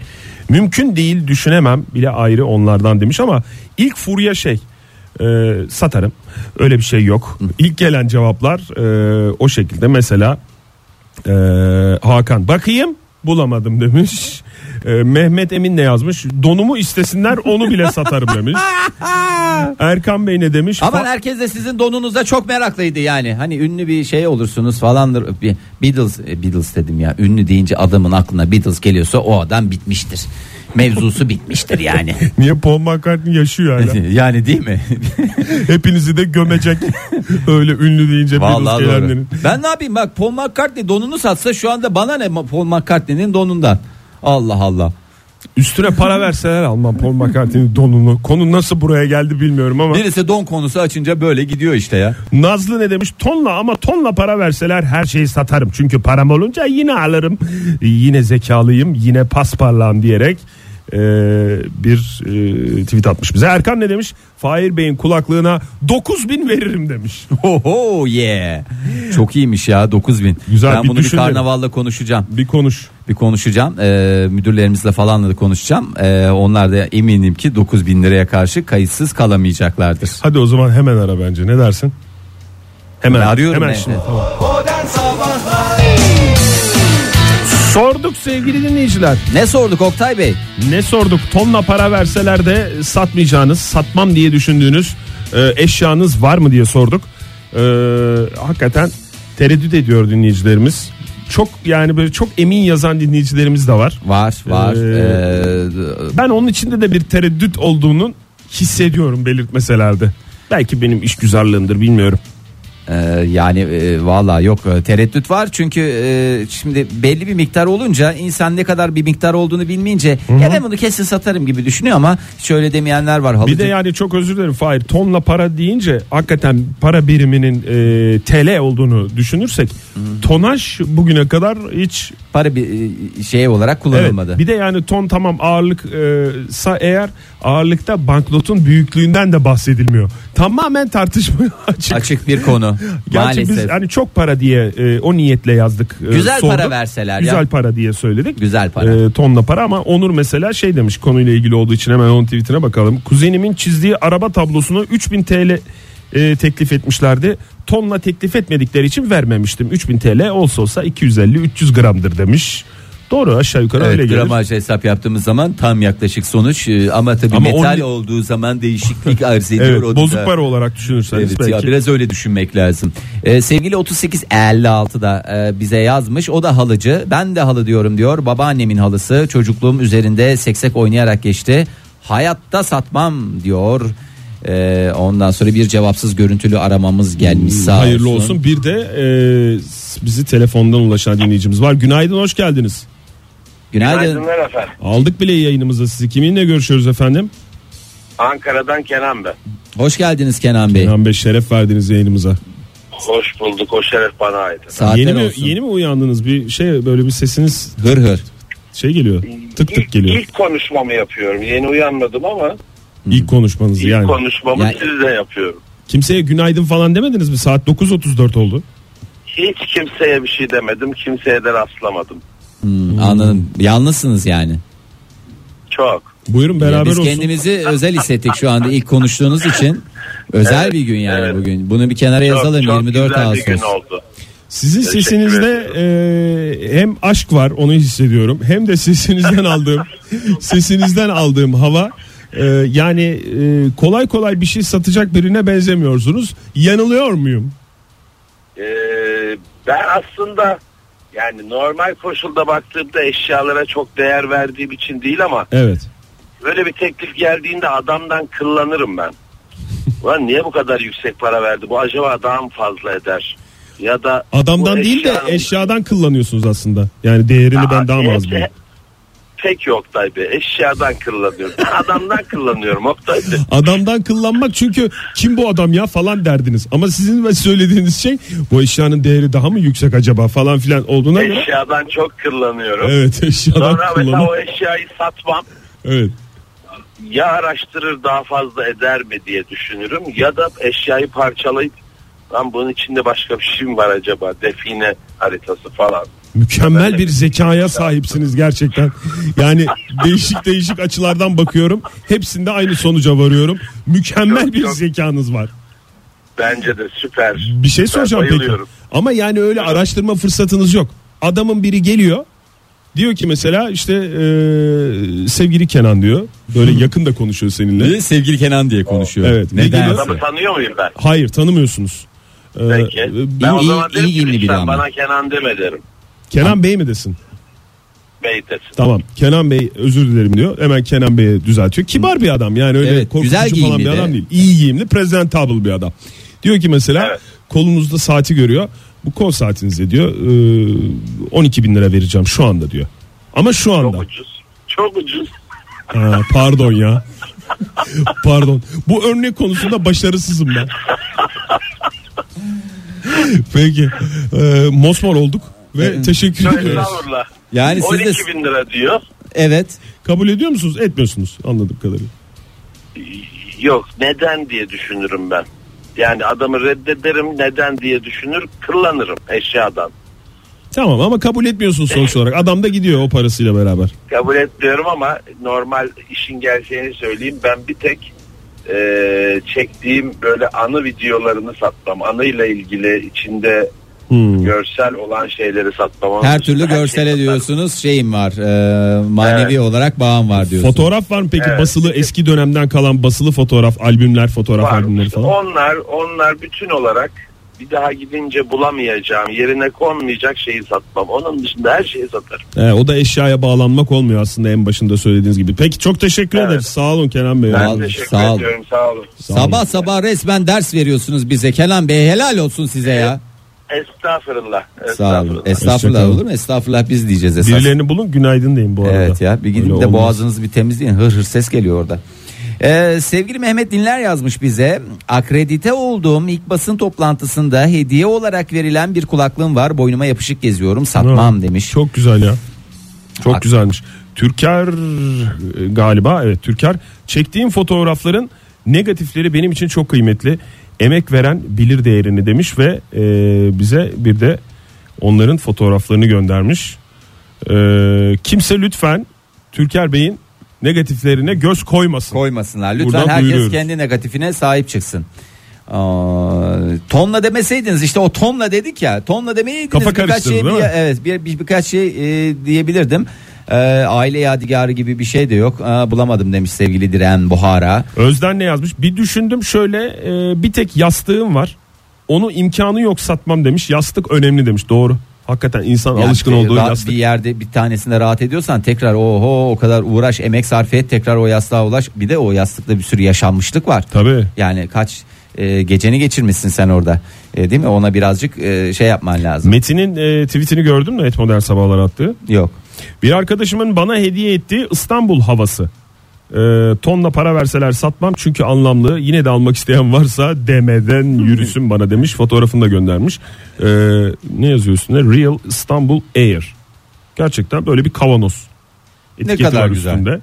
Speaker 3: Mümkün değil düşünemem bile ayrı onlardan demiş ama ilk furya şey e, satarım. Öyle bir şey yok. İlk gelen cevaplar e, o şekilde mesela ee, Hakan bakayım bulamadım demiş. Ee, Mehmet Emin ne yazmış? Donumu istesinler onu bile satarım demiş. Erkan Bey ne demiş?
Speaker 2: Ama er-
Speaker 3: Fa-
Speaker 2: herkes de sizin donunuza çok meraklıydı yani. Hani ünlü bir şey olursunuz falandır. Bir Beatles, e, Beatles dedim ya. Ünlü deyince adamın aklına Beatles geliyorsa o adam bitmiştir. Mevzusu bitmiştir
Speaker 3: *laughs*
Speaker 2: yani.
Speaker 3: Niye Paul McCartney yaşıyor *laughs* hala?
Speaker 2: yani değil mi?
Speaker 3: Hepinizi de *laughs* gömecek. Öyle ünlü deyince
Speaker 2: Vallahi
Speaker 3: Beatles
Speaker 2: doğru.
Speaker 3: gelenlerin.
Speaker 2: Ben ne yapayım bak Paul McCartney donunu satsa şu anda bana ne Ma- Paul McCartney'nin donundan. Allah Allah.
Speaker 3: Üstüne para verseler almam Paul McCartney'nin donunu. Konu nasıl buraya geldi bilmiyorum ama.
Speaker 2: Birisi don konusu açınca böyle gidiyor işte
Speaker 3: *laughs*
Speaker 2: ya.
Speaker 3: Nazlı ne demiş? Tonla ama tonla para verseler her şeyi satarım. Çünkü param olunca yine alırım. Yine zekalıyım, yine pasparlağım diyerek e, bir e, tweet atmış bize. Erkan ne demiş? Fahir Bey'in kulaklığına 9000 veririm demiş.
Speaker 2: Oho yeah. Çok iyiymiş ya 9000.
Speaker 3: Güzel,
Speaker 2: ben
Speaker 3: bir
Speaker 2: bunu bir
Speaker 3: düşünelim.
Speaker 2: karnavalla konuşacağım.
Speaker 3: *laughs* Bir konuş.
Speaker 2: Bir konuşacağım. Ee, müdürlerimizle falan da konuşacağım. Ee, onlar da eminim ki 9000 liraya karşı kayıtsız kalamayacaklardır.
Speaker 3: Hadi o zaman hemen ara bence. Ne dersin? Hemen
Speaker 2: Ben arıyorum
Speaker 3: Hemen
Speaker 2: yani.
Speaker 3: şimdi. Tamam. Sorduk sevgili dinleyiciler.
Speaker 2: Ne sorduk Oktay Bey?
Speaker 3: Ne sorduk? Tonla para verseler de satmayacağınız, satmam diye düşündüğünüz e, eşyanız var mı diye sorduk. E, hakikaten tereddüt ediyor dinleyicilerimiz. Çok yani böyle çok emin yazan dinleyicilerimiz de var.
Speaker 2: Var var. Ee,
Speaker 3: Ben onun içinde de bir tereddüt olduğunu hissediyorum belirtmeselerdi. Belki benim işgüzarlığımdır bilmiyorum.
Speaker 2: Ee, yani e, valla yok e, tereddüt var çünkü e, şimdi belli bir miktar olunca insan ne kadar bir miktar olduğunu bilmeyince ya ben bunu kesin satarım gibi düşünüyor ama şöyle demeyenler var halıcı.
Speaker 3: Bir de yani çok özür dilerim Fahir tonla para deyince hakikaten para biriminin e, TL olduğunu düşünürsek tonaj bugüne kadar hiç
Speaker 2: para bir e, şey olarak
Speaker 3: Evet,
Speaker 2: kullanılmadı.
Speaker 3: bir de yani ton tamam ağırlık e, sa eğer ağırlıkta banknotun büyüklüğünden de bahsedilmiyor. Tamamen tartışma *laughs* açık.
Speaker 2: Açık bir konu
Speaker 3: Gerçi
Speaker 2: maalesef.
Speaker 3: biz hani çok para diye e, o niyetle yazdık. e,
Speaker 2: Güzel
Speaker 3: sorduk.
Speaker 2: para verseler
Speaker 3: Güzel
Speaker 2: ya.
Speaker 3: para diye söyledik.
Speaker 2: Güzel para.
Speaker 3: E, tonla para ama Onur mesela şey demiş konuyla ilgili olduğu için hemen onun tweetine bakalım. Kuzenimin çizdiği araba tablosunu 3000 TL e, teklif etmişlerdi. Tonla teklif etmedikleri için vermemiştim. 3000 TL olsa olsa 250-300 gramdır demiş. Doğru aşağı yukarı öyle
Speaker 2: Evet,
Speaker 3: gelir.
Speaker 2: gramaj hesap yaptığımız zaman tam yaklaşık sonuç e, ama tabii
Speaker 3: Ama
Speaker 2: metal
Speaker 3: on-
Speaker 2: olduğu zaman
Speaker 3: *laughs*
Speaker 2: değişiklik arz ediyor.
Speaker 3: Evet,
Speaker 2: o da-
Speaker 3: bozuk para olarak düşünürseniz
Speaker 2: Evet
Speaker 3: belki.
Speaker 2: ya biraz öyle düşünmek lazım. Ee, sevgili 3856'da e, bize yazmış. O da halıcı. Ben de halı diyorum diyor. Babaannemin halısı. Çocukluğum üzerinde seksek oynayarak geçti. Hayatta satmam diyor. Ee, ondan sonra bir cevapsız görüntülü aramamız gelmiş sağ
Speaker 3: Hayırlı olsun. Bir de e, bizi telefondan ulaşan dinleyicimiz var. Günaydın hoş geldiniz.
Speaker 2: Günaydın.
Speaker 4: Günaydınlar efendim.
Speaker 3: Aldık bile yayınımıza sizi. Kiminle görüşüyoruz efendim?
Speaker 4: Ankara'dan Kenan ben.
Speaker 2: Hoş geldiniz Kenan Bey.
Speaker 3: Kenan Bey şeref verdiniz yayınımıza.
Speaker 4: Hoş bulduk. O şeref bana ait.
Speaker 2: Saatler
Speaker 3: yeni mi
Speaker 2: olsun.
Speaker 3: yeni mi uyandınız? Bir şey böyle bir sesiniz
Speaker 2: Hır hır.
Speaker 3: şey geliyor. Tık tık
Speaker 4: İlk,
Speaker 3: geliyor.
Speaker 4: ilk konuşmamı yapıyorum. Yeni uyanmadım ama
Speaker 3: İlk konuşmanız
Speaker 4: ilk
Speaker 3: yani.
Speaker 4: konuşmamı
Speaker 2: Yani-
Speaker 4: sizle yapıyorum.
Speaker 3: Kimseye günaydın falan demediniz mi? Saat 9.34 oldu.
Speaker 4: Hiç kimseye bir şey demedim. Kimseye de rastlamadım.
Speaker 2: Hmm, anladım. Yalnızsınız yani.
Speaker 4: Çok.
Speaker 3: Buyurun beraber
Speaker 2: Biz
Speaker 3: olsun.
Speaker 2: kendimizi özel hissettik şu anda ilk konuştuğunuz için. Özel
Speaker 4: Evet,
Speaker 2: bir gün yani
Speaker 4: evet.
Speaker 2: bugün. Bunu bir kenara
Speaker 4: Çok,
Speaker 2: yazalım
Speaker 4: çok
Speaker 2: 24
Speaker 4: güzel
Speaker 2: Ağustos.
Speaker 4: bir gün oldu.
Speaker 3: Sizin
Speaker 4: Teşekkür
Speaker 3: sesinizde e, hem aşk var onu hissediyorum hem de sesinizden
Speaker 4: *laughs*
Speaker 3: aldığım sesinizden aldığım hava e, yani e, kolay kolay bir şey satacak birine benzemiyorsunuz. Yanılıyor muyum?
Speaker 4: Ee, ben aslında yani normal koşulda baktığımda eşyalara çok değer verdiğim için değil ama
Speaker 3: Evet.
Speaker 4: Böyle bir teklif geldiğinde adamdan kıllanırım ben. Ulan niye bu kadar yüksek para verdi? Bu acaba daha mı fazla eder? Ya da
Speaker 3: Adamdan
Speaker 4: bu
Speaker 3: değil de
Speaker 4: eşyanın-
Speaker 3: eşyadan kullanıyorsunuz aslında. Yani değerini
Speaker 4: Aa,
Speaker 3: ben daha mı az
Speaker 4: hepsi-
Speaker 3: biliyorum?
Speaker 4: Pek yok Oktay Bey. Eşyadan kıllanıyorum. Ben adamdan
Speaker 3: *laughs*
Speaker 4: kıllanıyorum Oktay Bey.
Speaker 3: Adamdan kıllanmak çünkü kim bu adam ya falan derdiniz. Ama sizin ve söylediğiniz şey bu eşyanın değeri daha mı yüksek acaba falan filan olduğuna göre.
Speaker 4: Eşyadan çok kıllanıyorum.
Speaker 3: Evet eşyadan
Speaker 4: Sonra mesela
Speaker 3: kullanmak.
Speaker 4: o eşyayı satmam.
Speaker 3: Evet.
Speaker 4: Ya araştırır daha fazla eder mi diye düşünürüm. Ya da eşyayı parçalayıp lan bunun içinde başka bir şey mi var acaba? Define haritası falan.
Speaker 3: Mükemmel bir zekaya sahipsiniz gerçekten. Yani değişik değişik açılardan bakıyorum. Hepsinde aynı sonuca varıyorum. Mükemmel
Speaker 4: Yok,
Speaker 3: bir
Speaker 4: yok.
Speaker 3: zekanız var.
Speaker 4: Bence de süper.
Speaker 3: Bir şey soracağım
Speaker 4: ben
Speaker 3: peki.
Speaker 4: bayılıyorum.
Speaker 3: Ama yani öyle araştırma fırsatınız yok. Adamın biri geliyor. Diyor ki mesela işte e, sevgili Kenan diyor. Böyle yakın da konuşuyor seninle.
Speaker 5: Ve sevgili Kenan diye konuşuyor.
Speaker 3: Evet.
Speaker 5: Neden?
Speaker 3: Ne
Speaker 4: Adamı tanıyor muyum ben?
Speaker 3: Hayır tanımıyorsunuz. E,
Speaker 4: Peki.
Speaker 3: e,
Speaker 4: ben
Speaker 2: Ee, iyi-
Speaker 4: o zaman
Speaker 2: iyi
Speaker 4: derim ki
Speaker 2: giyimli biri
Speaker 4: lütfen
Speaker 2: ama."
Speaker 4: bana Kenan deme derim.
Speaker 3: Kenan Bey mi desin?
Speaker 4: Bey desin.
Speaker 3: Tamam Kenan Bey özür dilerim diyor. Hemen Kenan Bey'e düzeltiyor. Kibar bir adam yani öyle
Speaker 2: Evet,
Speaker 3: korkutucu
Speaker 2: güzel
Speaker 3: falan
Speaker 2: giyimli
Speaker 3: bir
Speaker 2: de.
Speaker 3: adam değil. İyi giyimli presentable bir adam. Diyor ki mesela
Speaker 4: Evet.
Speaker 3: kolunuzda saati görüyor. Bu kol saatinize diyor e, 12 bin lira vereceğim şu anda diyor. Ama şu
Speaker 4: Çok
Speaker 3: anda.
Speaker 4: ucuz. Çok ucuz.
Speaker 3: Ha, pardon ya. pardon. Bu örnek konusunda başarısızım ben. Peki. E, mosmor olduk ve teşekkür ediyoruz.
Speaker 4: Estağfurullah.
Speaker 2: Yani siz de
Speaker 4: 12 bin lira diyor.
Speaker 2: evet
Speaker 3: Kabul ediyor musunuz? Etmiyorsunuz anladığım kadarıyla.
Speaker 4: Yok neden diye düşünürüm ben. Yani adamı reddederim neden diye düşünür kırlanırım eşyadan.
Speaker 3: Tamam ama kabul etmiyorsun sonuç olarak. Adam da gidiyor o parasıyla beraber.
Speaker 4: Kabul etmiyorum ama normal işin gerçeğini söyleyeyim. Ben bir tek e, çektiğim böyle anı videolarını satmam. Anıyla ilgili içinde
Speaker 3: Hmm.
Speaker 4: görsel olan şeyleri satmam.
Speaker 2: Hmm. her türlü
Speaker 4: Her şeyi
Speaker 2: görsele
Speaker 4: satarım.
Speaker 2: diyorsunuz şeyim var e, manevi
Speaker 4: Evet.
Speaker 2: olarak bağım var diyorsunuz.
Speaker 3: Fotoğraf var mı peki?
Speaker 4: Evet.
Speaker 3: Basılı eski dönemden kalan basılı fotoğraf, albümler, fotoğraf
Speaker 4: Var.
Speaker 3: albümleri falan.
Speaker 4: Onlar onlar bütün olarak bir daha gidince bulamayacağım yerine konmayacak şeyi satmam. Onun dışında her şeyi satarım.
Speaker 3: He, o da eşyaya bağlanmak olmuyor aslında en başında söylediğiniz gibi. Peki çok teşekkür
Speaker 4: Evet.
Speaker 3: ederiz. Sağ olun Kenan Bey.
Speaker 2: Ben-
Speaker 4: Ben
Speaker 2: Sağ olun,
Speaker 4: teşekkür
Speaker 2: sağ olun.
Speaker 4: ediyorum sağ olun.
Speaker 2: Sabah sabah resmen ders veriyorsunuz bize Kenan Bey helal olsun size ya.
Speaker 4: Estağfurullah.
Speaker 2: Sağ olun. Estağfurullah
Speaker 3: Hoşçakalın.
Speaker 2: olur mu? Estağfurullah biz diyeceğiz esas.
Speaker 3: Birilerini bulun günaydın deyin bu arada.
Speaker 2: Evet ya bir
Speaker 3: Öyle
Speaker 2: gidin de
Speaker 3: olmaz.
Speaker 2: boğazınızı bir temizleyin hır hır ses geliyor orada. Ee, sevgili Mehmet Dinler yazmış bize akredite olduğum ilk basın toplantısında hediye olarak verilen bir kulaklığım var boynuma yapışık geziyorum satmam
Speaker 3: Ha,
Speaker 2: demiş.
Speaker 3: Çok güzel ya. Çok
Speaker 2: Ak-
Speaker 3: güzelmiş. Türker e, galiba evet Türker çektiğim fotoğrafların negatifleri benim için çok kıymetli. Emek veren bilir değerini demiş ve e, bize bir de onların fotoğraflarını göndermiş. E, kimse lütfen Türker Bey'in negatiflerine göz koymasın.
Speaker 2: koymasınlar. Lütfen
Speaker 3: Buradan
Speaker 2: herkes
Speaker 3: duyuruyoruz.
Speaker 2: kendi negatifine sahip çıksın. Ee, tonla demeseydiniz işte o tonla dedik ya tonla demeyeydiniz
Speaker 3: Kafa
Speaker 2: birkaç
Speaker 3: karıştırdı,
Speaker 2: şey
Speaker 3: değil
Speaker 2: bir-
Speaker 3: mi?
Speaker 2: evet bir, bir- birkaç şey e, diyebilirdim. Ee, aile yadigarı gibi bir şey de yok. Aa, bulamadım demiş sevgili Diren Buhara.
Speaker 3: Özden ne yazmış? Bir düşündüm şöyle e, bir tek yastığım var. Onu imkanı yok satmam demiş. Yastık önemli demiş. Doğru. Hakikaten insan
Speaker 2: Yani
Speaker 3: alışkın
Speaker 2: bir-
Speaker 3: olduğu
Speaker 2: rahat
Speaker 3: yastık.
Speaker 2: Bir yerde bir tanesinde rahat ediyorsan tekrar oho o kadar uğraş emek sarf et tekrar o yastığa ulaş. Bir de o yastıkta bir sürü yaşanmışlık var.
Speaker 3: Tabii.
Speaker 2: Yani kaç e, geceni geçirmişsin sen orada. E, değil mi? Ona birazcık e, şey yapman lazım.
Speaker 3: Metin'in e, tweetini gördün mü Et Modern Sabahlar attığı?
Speaker 2: Yok.
Speaker 3: Bir arkadaşımın bana hediye ettiği İstanbul havası. E, tonla para verseler satmam çünkü anlamlı. Yine de almak isteyen varsa demeden yürüsün bana demiş. Fotoğrafını da göndermiş. E, ne yazıyor üstünde? Real İstanbul Air. Gerçekten böyle bir kavanoz. Etiketi
Speaker 2: kadar
Speaker 3: var
Speaker 2: güzel.
Speaker 3: üstünde.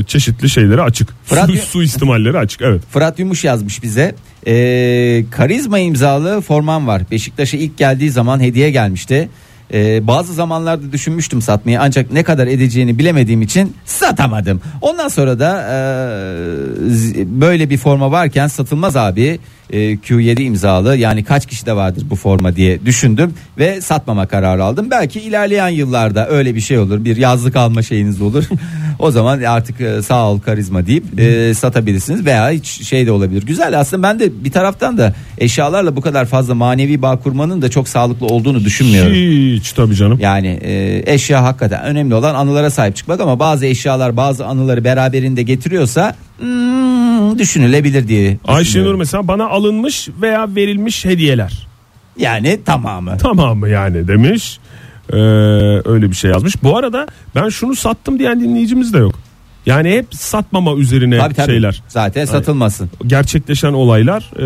Speaker 3: E, çeşitli şeyleri açık. Su,
Speaker 2: Radyo-
Speaker 3: su istimalleri açık. Evet.
Speaker 2: Fırat Yumuş yazmış bize. Ee, karizma imzalı formam var. Beşiktaş'a ilk geldiği zaman hediye gelmişti. Ee, bazı zamanlarda düşünmüştüm satmayı ancak ne kadar edeceğini bilemediğim için satamadım. Ondan sonra da e, z- böyle bir forma varken satılmaz abi e, Q7 imzalı yani kaç kişi de vardır bu forma diye düşündüm ve satmama kararı aldım. Belki ilerleyen yıllarda öyle bir şey olur bir yazlık alma şeyiniz olur. *laughs* o zaman artık e, sağ ol karizma deyip e, satabilirsiniz veya hiç şey de olabilir. Güzel aslında ben de bir taraftan da eşyalarla bu kadar fazla manevi bağ kurmanın da çok sağlıklı olduğunu düşünmüyorum.
Speaker 3: Hiç tabii canım.
Speaker 2: Yani e, eşya hakikaten önemli olan anılara sahip çıkmak ama bazı eşyalar bazı anıları beraberinde getiriyorsa hmm, düşünülebilir diye.
Speaker 3: Ayşenur
Speaker 2: düşünüyorum.
Speaker 3: mesela bana alınmış veya verilmiş hediyeler.
Speaker 2: Yani tamamı.
Speaker 3: Tamamı yani demiş. Ee, öyle bir şey yazmış. Bu arada ben şunu sattım diyen dinleyicimiz de yok. Yani hep satmama üzerine
Speaker 2: Tabii tabii.
Speaker 3: şeyler.
Speaker 2: Zaten satılmasın.
Speaker 3: Gerçekleşen olaylar ee,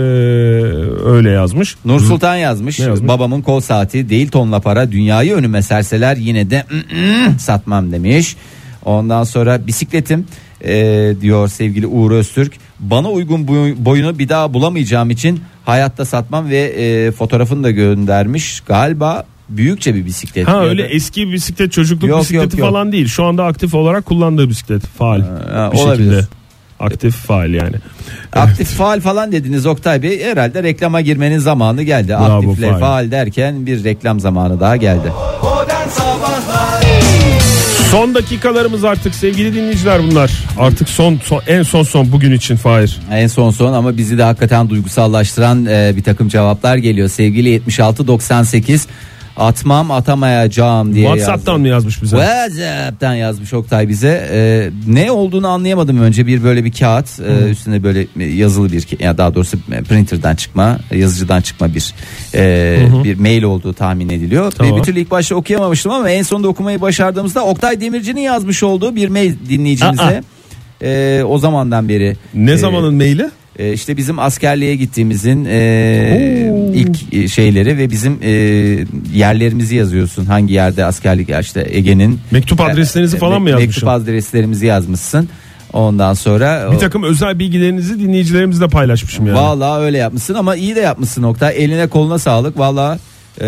Speaker 3: öyle yazmış.
Speaker 2: Nur Sultan yazmış,
Speaker 3: Ne yazmış?
Speaker 2: Babamın kol saati değil tonla para dünyayı önüme serseler yine de "Mm-mm, satmam demiş. Ondan sonra bisikletim e, diyor sevgili Uğur Öztürk. Bana uygun boy- boyunu bir daha bulamayacağım için hayatta satmam ve e, fotoğrafını da göndermiş. Galiba büyükçe bir bisiklet.
Speaker 3: Ha
Speaker 2: diyordu.
Speaker 3: öyle eski bisiklet çocukluk
Speaker 2: Yok,
Speaker 3: bisikleti
Speaker 2: yok, yok.
Speaker 3: falan değil. Şu anda aktif olarak kullandığı bisiklet faal.
Speaker 2: ha,
Speaker 3: bir
Speaker 2: olabilir.
Speaker 3: şekilde. Aktif faal yani.
Speaker 2: Aktif faal falan dediniz Oktay Bey. Herhalde reklama girmenin zamanı geldi.
Speaker 3: Bravo,
Speaker 2: Aktifle
Speaker 3: faal.
Speaker 2: faal derken bir reklam zamanı daha geldi.
Speaker 6: Modern Sabahlar
Speaker 3: Son dakikalarımız artık sevgili dinleyiciler bunlar. Artık son, son en son son bugün için Fahir.
Speaker 2: En son son ama bizi de hakikaten duygusallaştıran e, bir takım cevaplar geliyor. Sevgili 7698 atmam atamayacağım diye
Speaker 3: WhatsApp'tan
Speaker 2: yazdı.
Speaker 3: mı yazmış bize?
Speaker 2: WhatsApp'tan yazmış Oktay bize. Ee, ne olduğunu anlayamadım önce. Bir böyle bir kağıt e, üstüne böyle yazılı bir ya daha doğrusu e, printer'dan çıkma, yazıcıdan çıkma bir e, bir mail olduğu tahmin ediliyor.
Speaker 3: Tamam.
Speaker 2: Bir türlü ilk başta okuyamamıştım ama en sonunda okumayı başardığımızda Oktay Demirci'nin yazmış olduğu bir mail dinleyicimize. e, o zamandan beri
Speaker 3: Ah, Ne
Speaker 2: e,
Speaker 3: zamanın maili?
Speaker 2: e, işte bizim askerliğe gittiğimizin e, ilk e, şeyleri ve bizim e, yerlerimizi yazıyorsun. Hangi yerde askerlik ya işte Ege'nin
Speaker 3: Mektup adreslerinizi
Speaker 2: E,
Speaker 3: falan mı
Speaker 2: me-
Speaker 3: yazmışsın?
Speaker 2: Mektup adreslerimizi yazmışsın. Ondan sonra
Speaker 3: Bir takım özel bilgilerinizi dinleyicilerimizle paylaşmışım yani.
Speaker 2: Vallahi öyle yapmışsın ama iyi de yapmışsın nokta. Eline koluna sağlık. Vallahi e,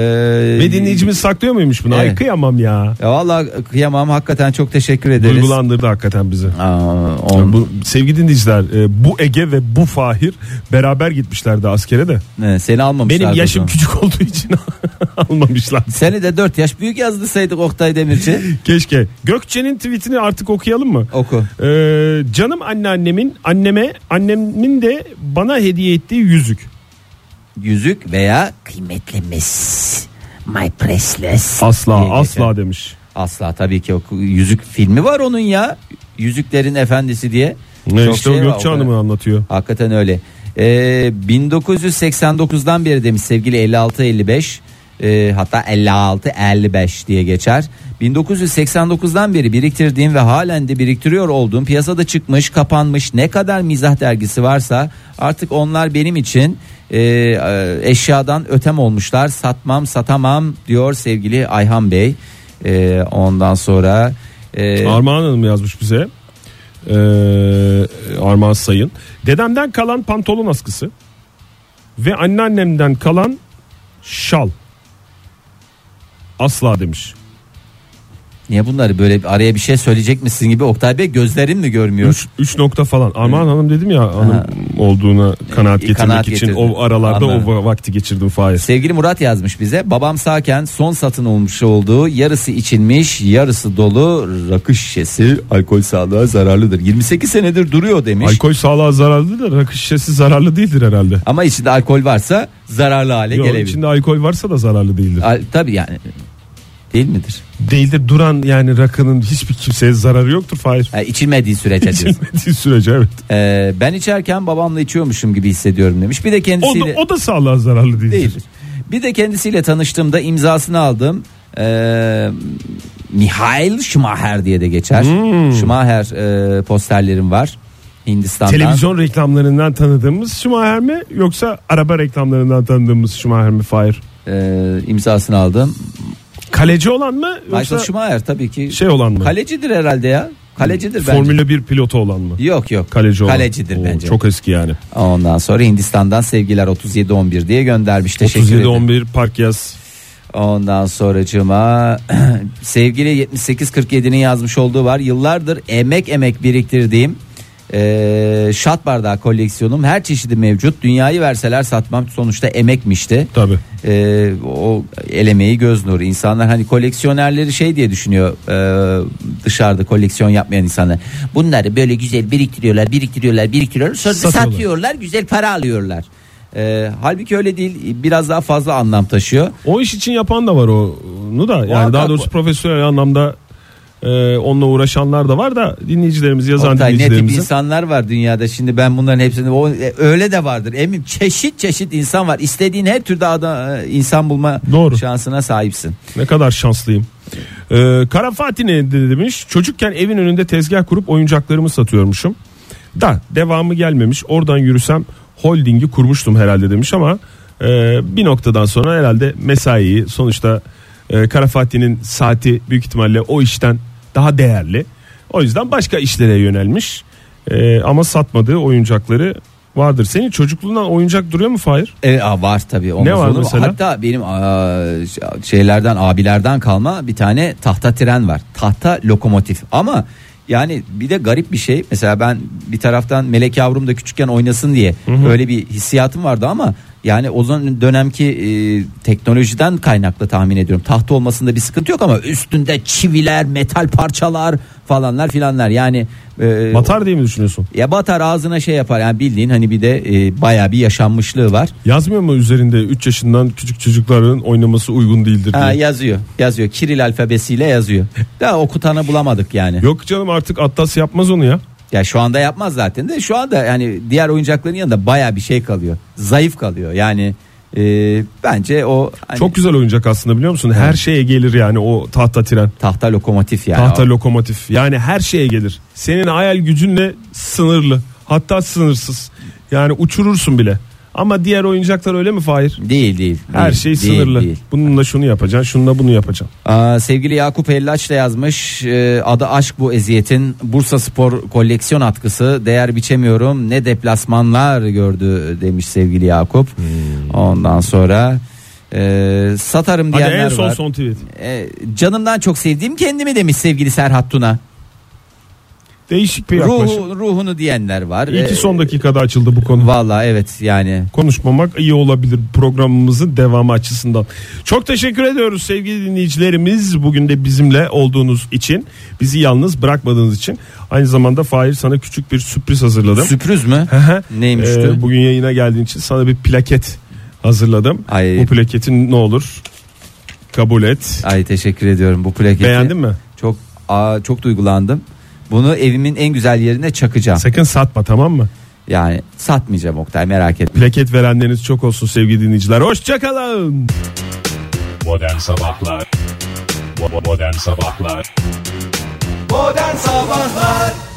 Speaker 3: Ve dinleyicimiz saklıyor muymuş bunu? Ay
Speaker 2: Evet.
Speaker 3: kıyamam ya.
Speaker 2: Ya vallahi kıyamam. Hakikaten çok teşekkür ederiz.
Speaker 3: Duygulandırdı hakikaten bizi.
Speaker 2: Aa, on-
Speaker 3: Yani bu, sevgili dinleyiciler e, bu Ege ve bu Fahir beraber gitmişlerdi askere de.
Speaker 2: e, seni almamışlar.
Speaker 3: Benim
Speaker 2: bu
Speaker 3: yaşım
Speaker 2: zaman.
Speaker 3: küçük olduğu için *laughs* almamışlar.
Speaker 2: Seni de 4 yaş büyük yazdısaydık Oktay
Speaker 3: *laughs*
Speaker 2: Demirci.
Speaker 3: Keşke. Gökçe'nin tweetini artık okuyalım mı?
Speaker 2: Oku.
Speaker 3: Ee, canım anneannemin anneme annemin de bana hediye ettiği yüzük.
Speaker 2: yüzük veya kıymetlimiz my priceless
Speaker 3: Asla
Speaker 2: diye
Speaker 3: asla
Speaker 2: geçer.
Speaker 3: demiş.
Speaker 2: asla tabii ki yok. yüzük filmi var onun ya yüzüklerin efendisi diye
Speaker 3: Ne
Speaker 2: Çok
Speaker 3: işte o
Speaker 2: şey var
Speaker 3: Gökçe
Speaker 2: o
Speaker 3: Hanım'ı
Speaker 2: kadar.
Speaker 3: anlatıyor.
Speaker 2: hakikaten öyle Ee, 1989'dan beri demiş sevgili 56-55 ee, hatta 56-55 diye geçer 1989'dan beri biriktirdiğim ve halen de biriktiriyor olduğum piyasada çıkmış kapanmış ne kadar mizah dergisi varsa artık onlar benim için e, e, eşyadan ötem olmuşlar. Satmam satamam diyor sevgili Ayhan Bey. E, ondan sonra e,
Speaker 3: Armağan Hanım yazmış bize. Ee, Armağan Sayın. Dedemden kalan pantolon askısı ve anneannemden kalan şal. Asla demiş.
Speaker 2: niye bunları böyle bir- araya bir şey söyleyecek misin gibi Oktay Bey gözlerin mi görmüyor?
Speaker 3: 3 3 nokta falan. Armağan Hanım dedim ya hanım
Speaker 2: Ha.
Speaker 3: olduğuna kanaat
Speaker 2: İyi,
Speaker 3: getirmek
Speaker 2: kanaat
Speaker 3: için
Speaker 2: getirdim.
Speaker 3: o aralarda
Speaker 2: Anladım.
Speaker 3: o vakti geçirdim Fahir.
Speaker 2: Sevgili Murat yazmış bize. Babam sağken son satın olmuş olduğu yarısı içilmiş yarısı dolu rakı şişesi alkol sağlığa zararlıdır. 28 senedir duruyor demiş.
Speaker 3: Alkol sağlığa zararlı da rakı şişesi zararlı değildir herhalde.
Speaker 2: Ama içinde alkol varsa zararlı hale
Speaker 3: Yok,
Speaker 2: gelebilir.
Speaker 3: içinde alkol varsa da zararlı değildir.
Speaker 2: Al- tabii yani değil midir?
Speaker 3: Değildir duran yani rakının hiçbir kimseye zararı yoktur Fahir.
Speaker 2: Ha, içilmediği
Speaker 3: *laughs*
Speaker 2: sürece diyorsun.
Speaker 3: İçilmediği sürece evet.
Speaker 2: Ee, ben içerken babamla içiyormuşum gibi hissediyorum demiş. Bir de
Speaker 3: O da,
Speaker 2: kendisiyle
Speaker 3: o da sağlığa zararlı değildir.
Speaker 2: değil. Bir de kendisiyle tanıştığımda imzasını aldım. Ee, Mihail Schumacher diye de geçer.
Speaker 3: Hmm.
Speaker 2: Schumacher e, posterlerim var. Hindistan'dan.
Speaker 3: Televizyon reklamlarından tanıdığımız Schumacher mi yoksa araba reklamlarından tanıdığımız Schumacher mi Fahir?
Speaker 2: e, imzasını aldım.
Speaker 3: Kaleci olan mı
Speaker 2: Michael
Speaker 3: yoksa
Speaker 2: Schumacher tabii ki.
Speaker 3: şey olan mı?
Speaker 2: Kalecidir herhalde ya. Kalecidir bence.
Speaker 3: Formula 1 pilotu olan mı?
Speaker 2: Yok yok.
Speaker 3: Kaleci olan.
Speaker 2: Kalecidir
Speaker 3: Oo,
Speaker 2: bence.
Speaker 3: Çok eski yani.
Speaker 2: Ondan sonra Hindistan'dan sevgiler 3711 diye göndermiş. Teşekkür ederim.
Speaker 3: 37-11 park yaz.
Speaker 2: Ondan sonracıma *clears throat* sevgili 7847'nin yazmış olduğu var. Yıllardır emek emek biriktirdiğim e, şat bardağı koleksiyonum her çeşidi mevcut. Dünyayı verseler satmam sonuçta emekmişti.
Speaker 3: Tabii.
Speaker 2: E, o el emeği göz nuru. İnsanlar hani koleksiyonerleri şey diye düşünüyor e, dışarıda koleksiyon yapmayan insanlar. Bunları böyle güzel biriktiriyorlar, biriktiriyorlar, biriktiriyorlar. Sonra
Speaker 3: Satıyorlar.
Speaker 2: satıyorlar, güzel para alıyorlar. E, halbuki öyle değil. Biraz daha fazla anlam taşıyor.
Speaker 3: O iş için yapan da var onu da. Yani
Speaker 2: Muhakkak
Speaker 3: daha doğrusu
Speaker 2: bu-
Speaker 3: profesyonel anlamda e, onunla uğraşanlar da var da dinleyicilerimiz yazan
Speaker 2: Oktay ne tip
Speaker 3: dinleyicilerimizin.
Speaker 2: insanlar var dünyada şimdi ben bunların hepsini o, e, öyle de vardır emin çeşit çeşit insan var istediğin her türde adam, e, insan bulma
Speaker 3: Doğru.
Speaker 2: şansına sahipsin.
Speaker 3: Ne kadar şanslıyım. Ee, Kara Fatih ne dedi demiş. Çocukken evin önünde tezgah kurup oyuncaklarımı satıyormuşum. Da devamı gelmemiş. Oradan yürüsem holdingi kurmuştum herhalde demiş ama e, bir noktadan sonra herhalde mesaiyi sonuçta e, Kara Fatih'in saati büyük ihtimalle o işten daha değerli. O yüzden başka işlere yönelmiş. E, ama satmadığı oyuncakları vardır. Senin çocukluğundan oyuncak duruyor mu Fahir?
Speaker 2: E, aa, var tabii. olmaz
Speaker 3: Ne var
Speaker 2: olur mu?
Speaker 3: mesela?
Speaker 2: Hatta benim aa, şeylerden abilerden kalma bir tane tahta tren var. Tahta lokomotif ama yani bir de garip bir şey. Mesela ben bir taraftan Melek Yavrum da küçükken oynasın diye öyle bir hissiyatım vardı ama Yani o zaman dönemki e, teknolojiden kaynaklı tahmin ediyorum. Tahta olmasında bir sıkıntı yok ama üstünde çiviler, metal parçalar falanlar filanlar. Yani e,
Speaker 3: Batar diye mi düşünüyorsun?
Speaker 2: ya batar ağzına şey yapar. Yani bildiğin hani bir de e, bayağı bir yaşanmışlığı var.
Speaker 3: Yazmıyor mu üzerinde 3 yaşından küçük çocukların oynaması uygun değildir diye.
Speaker 2: Ha, yazıyor. Yazıyor. Kiril alfabesiyle
Speaker 3: *laughs*
Speaker 2: yazıyor. Daha okutanı bulamadık yani.
Speaker 3: Yok canım artık Atlas yapmaz onu ya.
Speaker 2: Ya şu anda yapmaz zaten de şu anda yani diğer oyuncakların yanında baya bir şey kalıyor. Zayıf kalıyor. Yani e, bence o hani
Speaker 3: Çok güzel oyuncak aslında biliyor musun? Her şeye gelir yani o tahta tren.
Speaker 2: tahta lokomotif yani.
Speaker 3: Tahta lokomotif. Yani her şeye gelir. Senin hayal gücünle sınırlı. Hatta sınırsız. Yani uçurursun bile. Ama diğer oyuncaklar öyle mi Fahir?
Speaker 2: Değil değil.
Speaker 3: Her
Speaker 2: değil,
Speaker 3: şey
Speaker 2: değil,
Speaker 3: sınırlı.
Speaker 2: değil.
Speaker 3: Bununla şunu yapacaksın, şununla bunu yapacaksın.
Speaker 2: Aa, sevgili Yakup Ellaç da yazmış e, adı aşk bu eziyetin Bursa Spor koleksiyon atkısı değer biçemiyorum ne deplasmanlar gördü demiş sevgili Yakup ondan sonra e, satarım
Speaker 3: Hadi
Speaker 2: diyenler
Speaker 3: en son
Speaker 2: var
Speaker 3: son tweet.
Speaker 2: E, canımdan çok sevdiğim kendimi demiş sevgili Serhat Tuna
Speaker 3: Değişik bir yaklaşım.
Speaker 2: Ruhu, ruhunu diyenler var
Speaker 3: İyi
Speaker 2: E,
Speaker 3: ki son dakikada açıldı bu konu.
Speaker 2: Valla evet yani
Speaker 3: konuşmamak iyi olabilir programımızın devamı açısından. Çok teşekkür ediyoruz sevgili dinleyicilerimiz. Bugün de bizimle olduğunuz için, bizi yalnız bırakmadığınız için. Aynı zamanda Fahir sana küçük bir sürpriz hazırladım.
Speaker 2: sürpriz mü? Neymiş
Speaker 3: Ee,
Speaker 2: bu?
Speaker 3: bugün yayına geldiğin için sana bir plaket hazırladım.
Speaker 2: Ay.
Speaker 3: Bu plaketin ne olur kabul et.
Speaker 2: Ay teşekkür ediyorum bu plaketi.
Speaker 3: Beğendin mi?
Speaker 2: Çok aa, çok duygulandım. Bunu evimin en güzel yerine çakacağım.
Speaker 3: Sakın satma tamam mı?
Speaker 2: Yani satmayacağım Oktay merak etme.
Speaker 3: Plaket verenleriniz çok olsun sevgili dinleyiciler. Hoşçakalın.
Speaker 6: Modern Sabahlar Bo- Modern Sabahlar
Speaker 7: Modern Sabahlar